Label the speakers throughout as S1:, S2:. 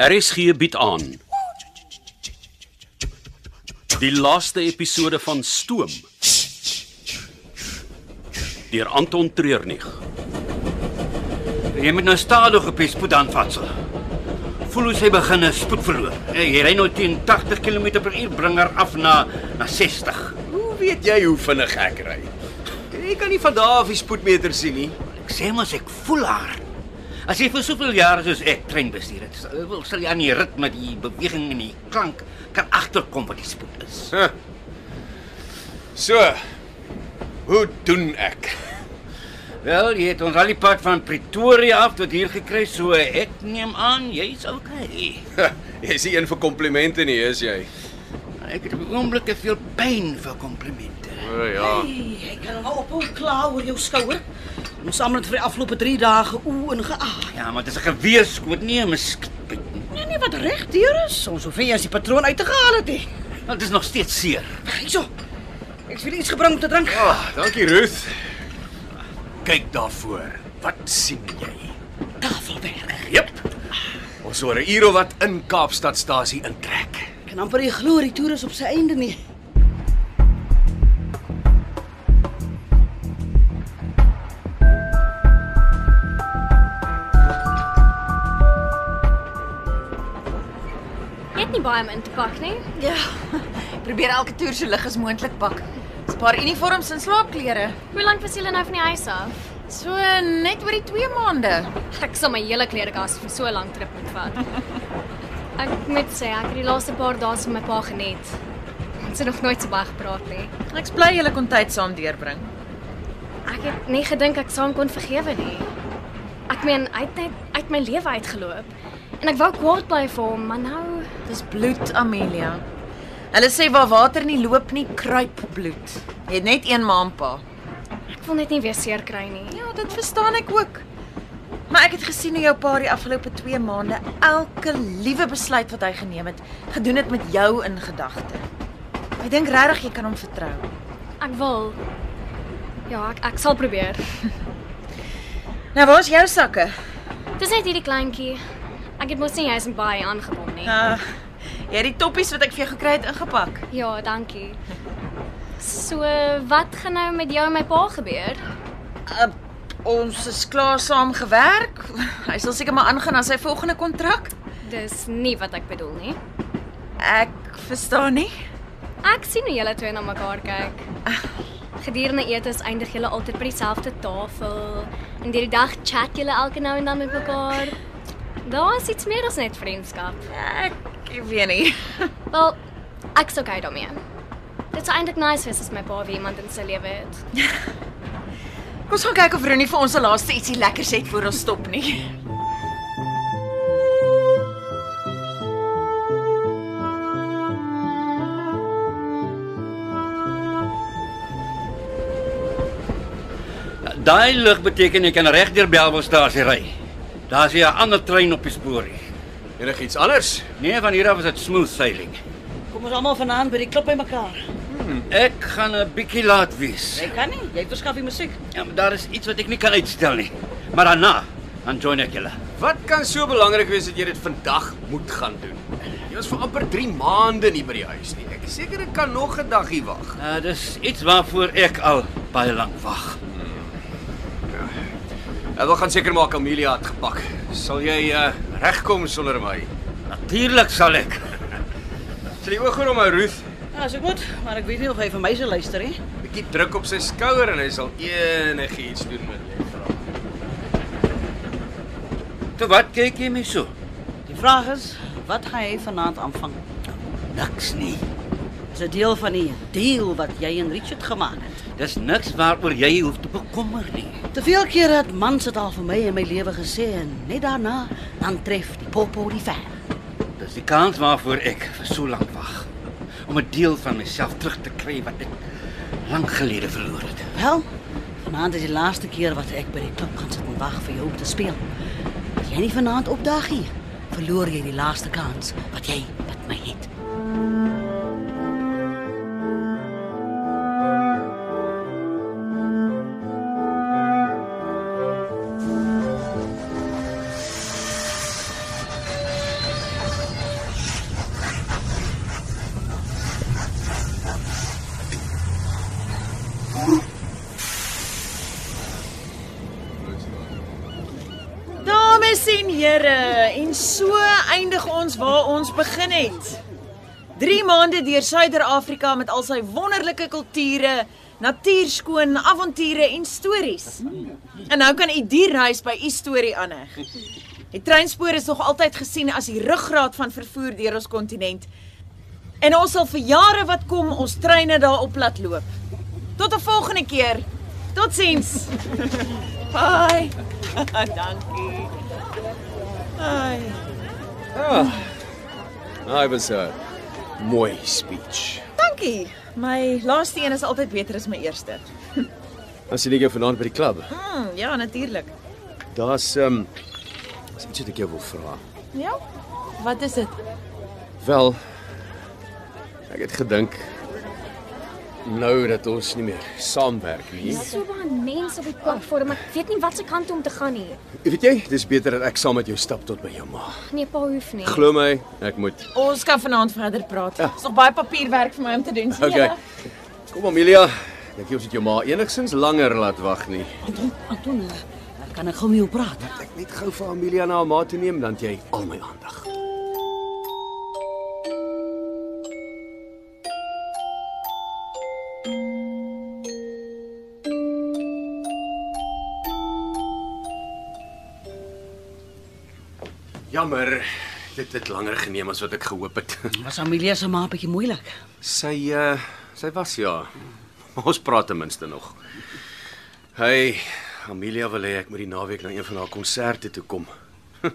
S1: RSG bied aan. Die laaste episode van Stoom. Deur Anton Treurnig.
S2: Jy moet nou stadig op die spoed aanvatsel. Voel hoe sy begin 'n spoed verloor. Eh, Jy ry nou teen 80 km/h bring haar af na na 60.
S3: Hoe weet jy hoe vinnig ek ry? Jy kan nie van daar af die spoedmeter sien nie.
S2: Ek sê mos ek voel haar. As jy vir soveel jare soos ek trein bestuur het, sal- wil sal jy aan die ritme, die beweging en die klank kan agterkom wat die spoed is.
S3: Huh. So, hoe doen ek?
S2: Wel, jy het ons al die pad van Pretoria af tot hier gekry, so ek neem aan jy's okay.
S3: Jy's nie een vir komplimente nie, is jy?
S2: Ek het op die oomblik te veel pyn vir komplimente.
S3: O ja.
S4: Hey, ek kan nou ophou kla oor jou skouer. Ons almal het vir die afgelope 3 dae oe en geag.
S2: Ja, maar dit is 'n geweerskoot, nie 'n muskiet.
S4: Nee nee, wat reg deur is. Ons hoef nie as die patroon uit te gehaal het nie.
S2: Dit is nog steeds seer.
S4: Hyso. Ek het vir iets gebring om te drink.
S3: Ah, dankie Ruth.
S2: Kyk daarvoor. Wat sien jy?
S4: Tafelberg.
S3: Jep. Ons oor 'n uur of wat in Kaapstadstasie intrek.
S4: Ek kan amper nie glo die toer is op sy einde nie.
S5: Jy het nie baie om in te pak nie.
S6: Ja. ek Probeer elke toer so lig as moontlik pak. Spaar uniforms en slaapklere.
S5: Hoe lank was julle nou van die huis af?
S6: So net oor die 2 maande.
S5: Ek sal my hele klerekas vir so 'n lang trip moet vat. Ek moet sê ek het die laaste paar dae saam met my pa geniet. Ons het nog nooit so baie gepraat nie.
S6: Ek's bly julle kon tyd saam deurbring.
S5: Ek het nie gedink ek sou hom kon vergewe nie. Ek meen, hy het net uit my lewe uitgeloop. En ek wou kwaad bly vir hom, maar nou,
S6: Dis bloed, Amelia. Hulle sê waar water nie loop nie, kruip bloed. Jy het net een ma en pa.
S5: ek wil net nie weer seer kry nie.
S6: Ja, dit verstaan ek ook. Maar ek het gesien hoe jou pa die afgelope 2 maande elke liewe besluit wat hy geneem het, gedoen het met jou in gedagte. Ek dink regtig jy kan hom vertrou.
S5: Ek wil Ja, ek, ek sal probeer.
S6: Nou, waar's jou sakke?
S5: Dis net hierdie kleintjie. Ek het mos nie jy's in baie aangekom nie.
S6: Uh, jy het die toppies wat ek vir jou gekry het ingepak.
S5: Ja, dankie. So, wat gaan nou met jou en my pa gebeur?
S6: Uh, ons is klaar saam gewerk. Hy sal seker maar aangaan aan sy volgende kontrak.
S5: Dis nie wat ek bedoel nie.
S6: Ek verstaan nie.
S5: Ek sien hoe julle twee na mekaar kyk. Gedurende etes eindig julle altyd by dieselfde tafel. In die dag chat julle elke nou en dan met mekaar. Daar is iets meer as net vriendskap.
S6: Ek weet nie.
S5: Wel, ek sou kyk daarmee. Dit sou eintlik nice wees as my pa weer iemand in sy lewe het.
S6: Kom ons gaan kyk of Ronnie vir ons 'n laaste ietsie lekkers het voor ons stop nie.
S2: Daai lig beteken jy kan reg deur Belwelstasie ry. Daar's hier 'n ander trein op die spoor.
S3: Enigiets anders?
S2: Nee, van hier af is dit smooth sailing.
S4: Kom ons almal vanaand by die klip bymekaar.
S2: Ek gaan 'n bietjie laat wees.
S4: Jy kan nie. Jy verskaf die musiek.
S2: Ja, maar daar is iets wat ek nie kan uitstel nie. Maar daarna, dan join ek julle.
S3: Wat kan so belangrik wees dat jy dit vandag moet gaan doen? Jy was vir amper 3 maande nie by die huis nie. Ek is seker ek kan nog 'n daggie wag.
S2: Uh, dis iets waarvoor ek al baie lank wag.
S3: Ek wil gaan seker maak Amelia het gepak. Sal jy uh, regkom sonder my?
S2: Natuurlik sal ek.
S3: Sy oog oor hom, ou Ruth.
S4: Ja, so goed, maar ek weet nie of hy vir my sal luister nie.
S3: Bietjie druk op sy skouer en hy sal enigiets doen met jou vra.
S2: Toe wat kyk jy my so?
S4: Die vraag is, wat gaan jy vanaand aanvang?
S2: Niks nie.
S4: Dis 'n deel van die deal wat jy en Richard gemaak het.
S2: Dis niks waaroor jy hoef te bekommer nie.
S4: Te veel kere het mans dit al vir my in my lewe gesê en net daarna dan tref die popo die ver.
S2: Dis die kans waarvoor ek vir so lank wag om 'n deel van myself terug te kry wat ek lank gelede verloor het.
S4: Wel, vanaand is die laaste keer wat ek by die klub gaan sit en wag vir jou om te speel. As jy nie vanaand opdag nie, verloor jy die laaste kans wat jy met my het.
S6: Here, en so eindig ons waar ons begin het. 3 maande deur Suider-Afrika met al sy wonderlike kulture, natuurskoon, avonture en stories. En nou kan u die reis by u storie aanheg. Die treinspoor is nog altyd gesien as die ruggraat van vervoer deur ons kontinent. En ons sal vir jare wat kom ons treine daarop laat loop. Tot 'n volgende keer. Totsiens. Bye. Dankie. Ai.
S3: Daai was 'n mooi speech.
S6: Dankie. My laaste een is altyd beter as my eerste.
S3: As jy net vanaand by die klub.
S6: Mm, ja, natuurlik.
S3: Daar's ehm um, is iets wat ek jou wil vra.
S6: Ja. Wat is dit?
S3: Wel ek het gedink nou dat ons nie meer saamwerk nie.
S5: Hier's so baie mense op die platform. Ek weet nie wat se kant om te gaan nie.
S3: Weet jy, dis beter dat ek saam met jou stap tot by jou ma.
S5: Nee, pa hoef nie.
S3: Glo my, ek moet.
S6: Ons kan vanaand verder praat. Daar's nog baie papierwerk vir my om te doen. sien
S3: Okay.
S6: julle?
S3: Kom Amelia, dink jy ons het jou ma enigsins langer laat wag nie?
S4: Anton, Anton, eh, kan ek gou met jou praat?
S3: Ek net gou vir Amelia na haar ma toe neem dan het jy al my aandag. Jammer, dit het langer geneem as wat ek gehoop het.
S4: Was Amelia se ma 'n bietjie moeilik?
S3: Sy uh sy was ja. Maar Ons praat ten minste nog. Hey, Amelia wil hê ek moet die naweek na een van haar konserte toe kom. Hm,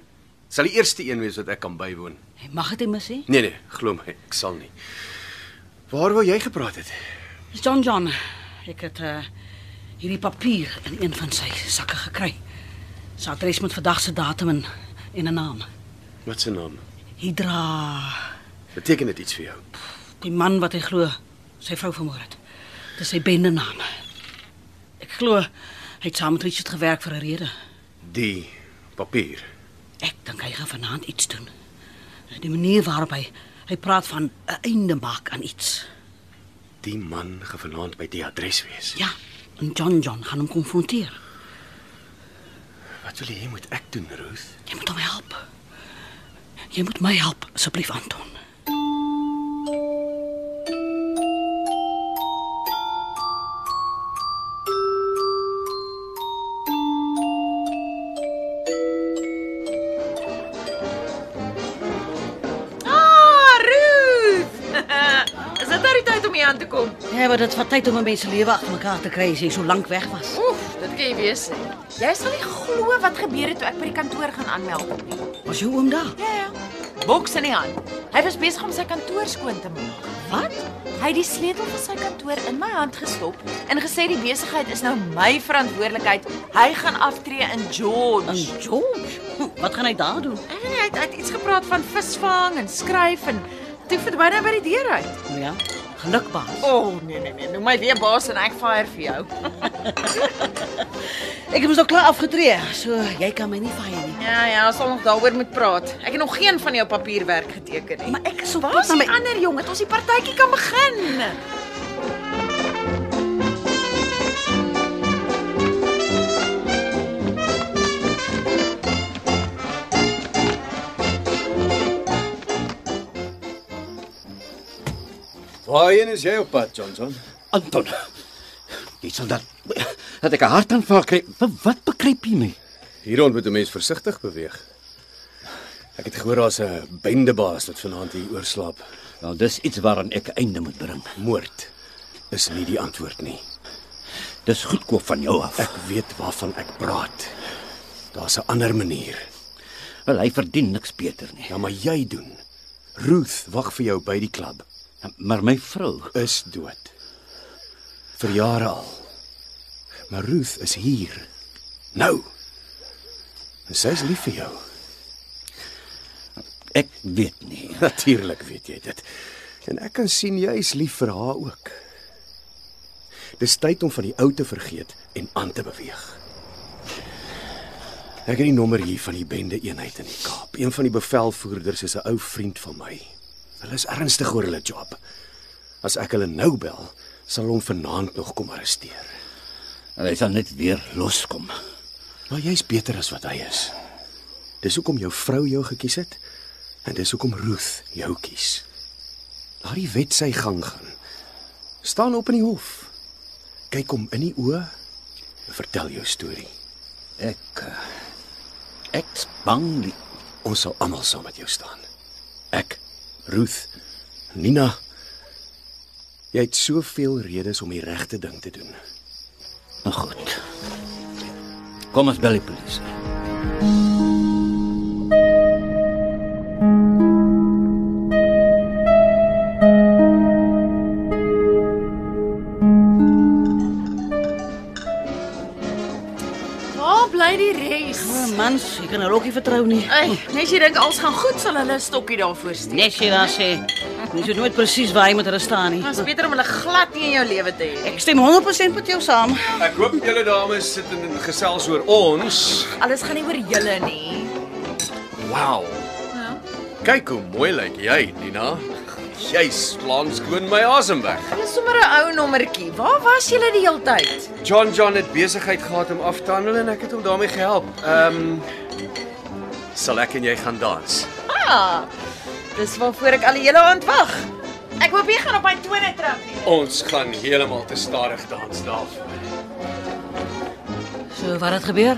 S3: Sal die eerste een wees wat ek kan bywoon.
S4: Hy mag dit immers sê.
S3: Nee nee, glo my, ek sal nie. Waar wou jy gepraat het?
S4: John John, ek het eh, hierdie papier in een van sy sakke gekry. Sy adres met vandag se datum en en 'n naam.
S3: Wat se naam?
S4: Hydra,
S3: Beteken dit iets vir jou?
S4: die man wat hy glo sy vrou vermoor het. Dis sy bende naam. Ek glo hy het saam met Richard gewerk vir 'n rede.
S3: Die papier.
S4: Ek dink hy gaan vanaand iets doen. Die manier waarop hy hy praat van 'n einde maak aan iets.
S3: Die man gaan vanaand by die adres wees.
S4: Ja, en John John gaan hom konfronteer.
S3: Wat wil jy hê moet ek doen, Ruth?
S4: Jy moet hom help. Jy moet my help, asseblief Anton.
S6: Ah, Ruth. is dit nou die tyd om hier aan te kom?
S4: Ja, maar dit vat tyd om 'n mens se lewe agter mekaar te kry as jy so lank weg was.
S6: Oef, dit kan jy weet. Jy sal nie glo wat gebeur het toe ek by die kantoor gaan aanmeld het nie.
S4: Was jou oom daar?
S6: Ja ja. Boks in die hand. Hy was besig om sy kantoor skoon te maak.
S4: Wat?
S6: Hy het die sleutel van sy kantoor in my hand gestop en gesê die besigheid is nou my verantwoordelikheid. Hy gaan aftree in
S4: En
S6: George.
S4: George? Hm, Wat gaan hy daar doen?
S6: Ek weet nie, hy het, hy het iets gepraat van visvang en skryf en toe verdwyn hy by die deur uit.
S4: Nou ja, geluk baas.
S6: O oh, nee nee nee, noem my weer baas en ek fire vir jou.
S4: Ek het mos nou klaar afgetree, so jy kan my nie vye nie.
S6: Ja ja, ons sal nog daaroor moet praat. Ek het nog geen van jou papierwerk geteken nie.
S4: Maar ek is op
S6: Waar
S4: pad
S6: is
S4: na my
S6: die ander jong? Het ons die partytjie kan begin?
S3: Waarheen is jy op pad, Johnson?
S7: Anton. Jy sal dat dat ek 'n hartaanval kry. Wa- Wat begryp jy nie?
S3: Hier rond moet 'n mens versigtig beweeg. Ek het gehoor daar's 'n bendebaas wat vanaand hier oorslaap.
S7: Wel, dis iets waaraan ek 'n einde moet bring.
S3: Moord is nie die antwoord nie.
S7: Dis goedkoop van jou af.
S3: Ek weet waarvan ek praat. Daar's 'n ander manier.
S7: Wel, hy verdien niks beter nie.
S3: Ja, maar jy doen. Ruth wag vir jou by die klub.
S7: Maar my vrou,
S3: Is dood. Vir jare al. Maar Ruth is hier. Nou. En Sy is lief vir jou.
S7: ek weet nie.
S3: Natuurlik weet jy dit. En ek kan sien jy is lief vir haar ook. Dis tyd om van die ou te vergeet en aan te beweeg. Ek het die nommer hier van die bende eenheid in die Kaap. Een van die bevelvoerders is 'n ou vriend van my. Hulle is ernstig oor hulle job. As ek hulle nou bel, sal hom vanaand nog kom arresteer.
S7: En Hy sal net weer loskom.
S3: Maar jy's beter as wat hy is. Dis hoekom jou vrou jou gekies het en dis hoekom Ruth jou kies. Laat die wet sy gang gaan. Staan op in die hof. Kyk hom in die oë en vertel jou storie.
S2: Ek eh, ek's bang die
S3: Ons sal almal saam met jou staan. Ek, Ruth, Nina. Jy het soveel redes om die regte ding te doen.
S2: Nou goed. Kom ons bel die polisie.
S8: Waar bly die res?
S4: Oh, man, ek kan haar ook nie vertrou nie.
S8: Ey, net jy dink alles gaan goed, sal hulle 'n stokkie daarvoor steek.
S4: Net sy daar sê. Mens weet nooit presies waar jy moet haar staan
S6: Ja.
S4: nie.
S8: Dit is beter om hulle glad nie in jou lewe te hê.
S4: Ek stem 100% met jou saam.
S3: Ek hoop julle dames sit en gesels oor ons.
S8: Alles gaan nie oor julle nie.
S3: Wow. Kyk hoe mooi lyk jy, Nina. Jy slaan skoon my asem weg.
S8: Dis sommer 'n ou nommertjie. Waar was julle die hele tyd?
S3: John John het besigheid gehad om af te handel en ek het hom daarmee gehelp. Ehm um, sal ek en jy gaan dans.
S8: Ah. Dis waarvoor ek al die hele aand wag. Ek hoop jy gaan op my tone trap nie.
S3: Ons gaan heeltemal te stadig dans daarvoor.
S4: So wat het gebeur?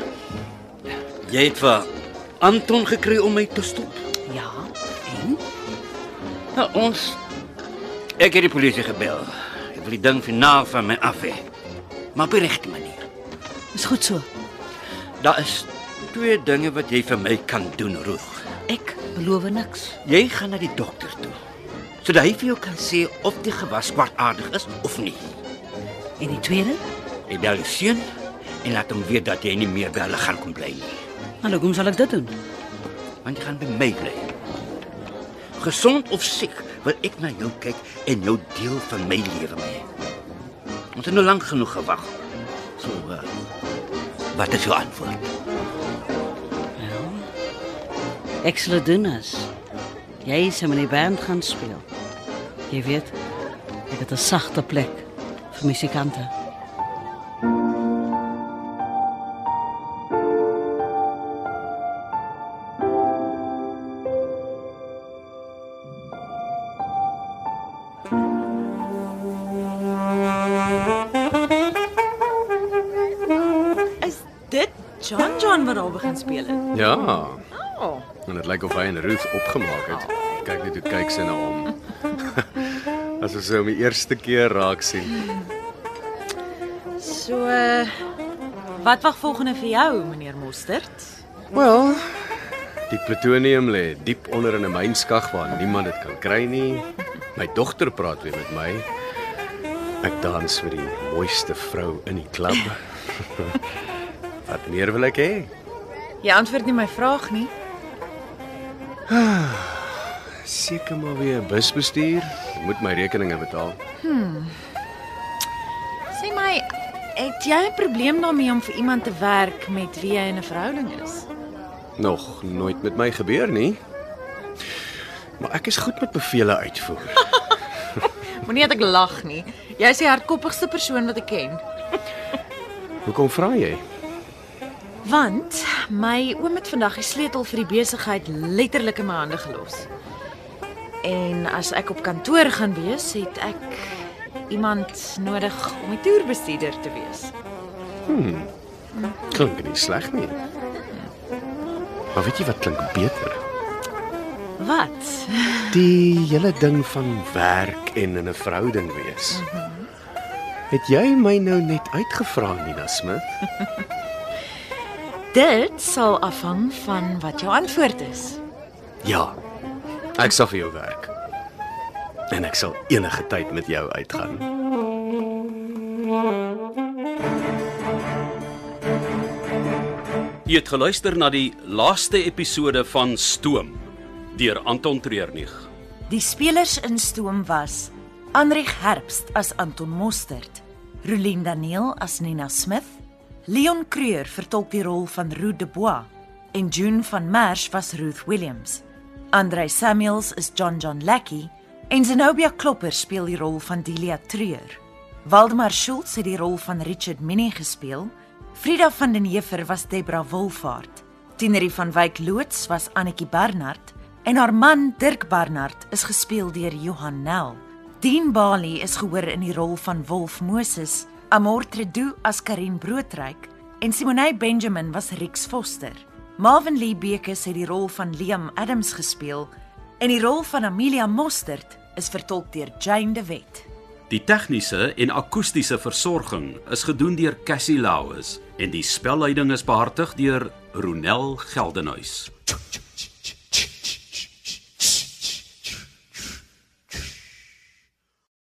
S2: Jy het vir Anton gekry om my te stop.
S4: Ja.
S2: Nou ons ek het die polisie gebel. Ek wil die ding finaal van my af hê. Maar op die regte manier.
S4: Is goed so.
S2: Daar is twee dinge wat jy vir my kan doen, Ruth.
S4: Ek beloof niks.
S2: Jy gaan na die dokter toe. Sodat hy vir jou kan sê of die gewas kwartaardig is of nie.
S4: En die tweede?
S2: Jy bel jou seun en laat hom weet dat jy nie meer by hulle gaan kom bly nie,
S4: Nou, hoekom sal ek dit doen?
S2: want jy gaan by my bly. Gesond of siek, wil ek na jou kyk en jou deel van my lewe maak. Ons het nou lank genoeg gewag. So, uh, wat is jou antwoord?
S4: Ek sal dit doen as jy se met die band gaan speel. Jy weet, ek het 'n sagte plek vir musikante.
S6: Is dit John John wat al begin speel het?
S3: Ja,
S6: Oh,
S3: en dit lyk of hy en Ruth opgemaak het. Kyk net hoe kyk sy na hom. As ons hom die eerste keer raak sien.
S6: so eh, wat wag volgende vir jou, meneer Mostert?
S3: Wel, die plutonium lê diep onder in 'n mynskag waar niemand dit kan kry nie. My dogter praat weer met my. Ek dans vir die mooiste vrou in die klub. Wat meer wil ek hê?
S6: Jy antwoord nie my vraag nie.
S3: Seker maar weer 'n bus bestuur. Ek moet my rekeninge betaal.
S6: Sê my, het jy 'n probleem daarmee om vir iemand te werk met wie jy in 'n verhouding is?
S3: Nog nooit met my gebeur nie. Maar ek is goed met bevele uitvoer.
S6: Moenie dat ek lag nie. Jy is die hardkoppigste persoon wat ek ken.
S3: Hoekom vra jy?
S6: Want my oom het vandag die sleutel vir die besigheid letterlik in my hande gelos. En as ek op kantoor gaan wees, het ek iemand nodig om die toerbestuurder te wees.
S3: Klink nie sleg nie. Maar weet jy wat klink beter?
S6: Wat?
S3: Die hele ding van werk en in 'n verhouding wees. Het jy my nou net uitgevra, Nina Smith?
S6: Dit sal afhang van wat jou antwoord is.
S3: Ja. Ek sal vir jou werk. En ek sal enige tyd met jou uitgaan.
S1: Jy het geluister na die laaste episode van Stoom deur Anton Treurnig.
S9: Die spelers in stoom was Anrich Herbst as Anton Mostert, Rulien Daniel as Nina Smith, Leon Creur vertolk die rol van Roo de Bois en June van Merch was Ruth Williams. Andrei Samuels is John John Lackey en Zenobia Klopper speel die rol van Delia Treur. Waldemar Schultz het die rol van Richard Minnie gespeel. Frida van den Heever was Debra Wolfhard Tienerie van Wyk loods was Annetjie Barnard en haar man Dirk Barnard is gespeel deur Johan Nel. Dean Bali is gehoor in die rol van Wolf Moses, Amor Tredu as Karin Broodryk en Simonay Benjamin was Rex Foster. Marvin Lee Bekes het die rol van Liam Adams gespeel en die rol van Amelia Mostert is vertolk deur Jane de Wet.
S1: Die tegniese en akoestiese versorging is gedoen deur Cassie Lauis en die spelleiding is behartig deur Ronel Geldenhuys.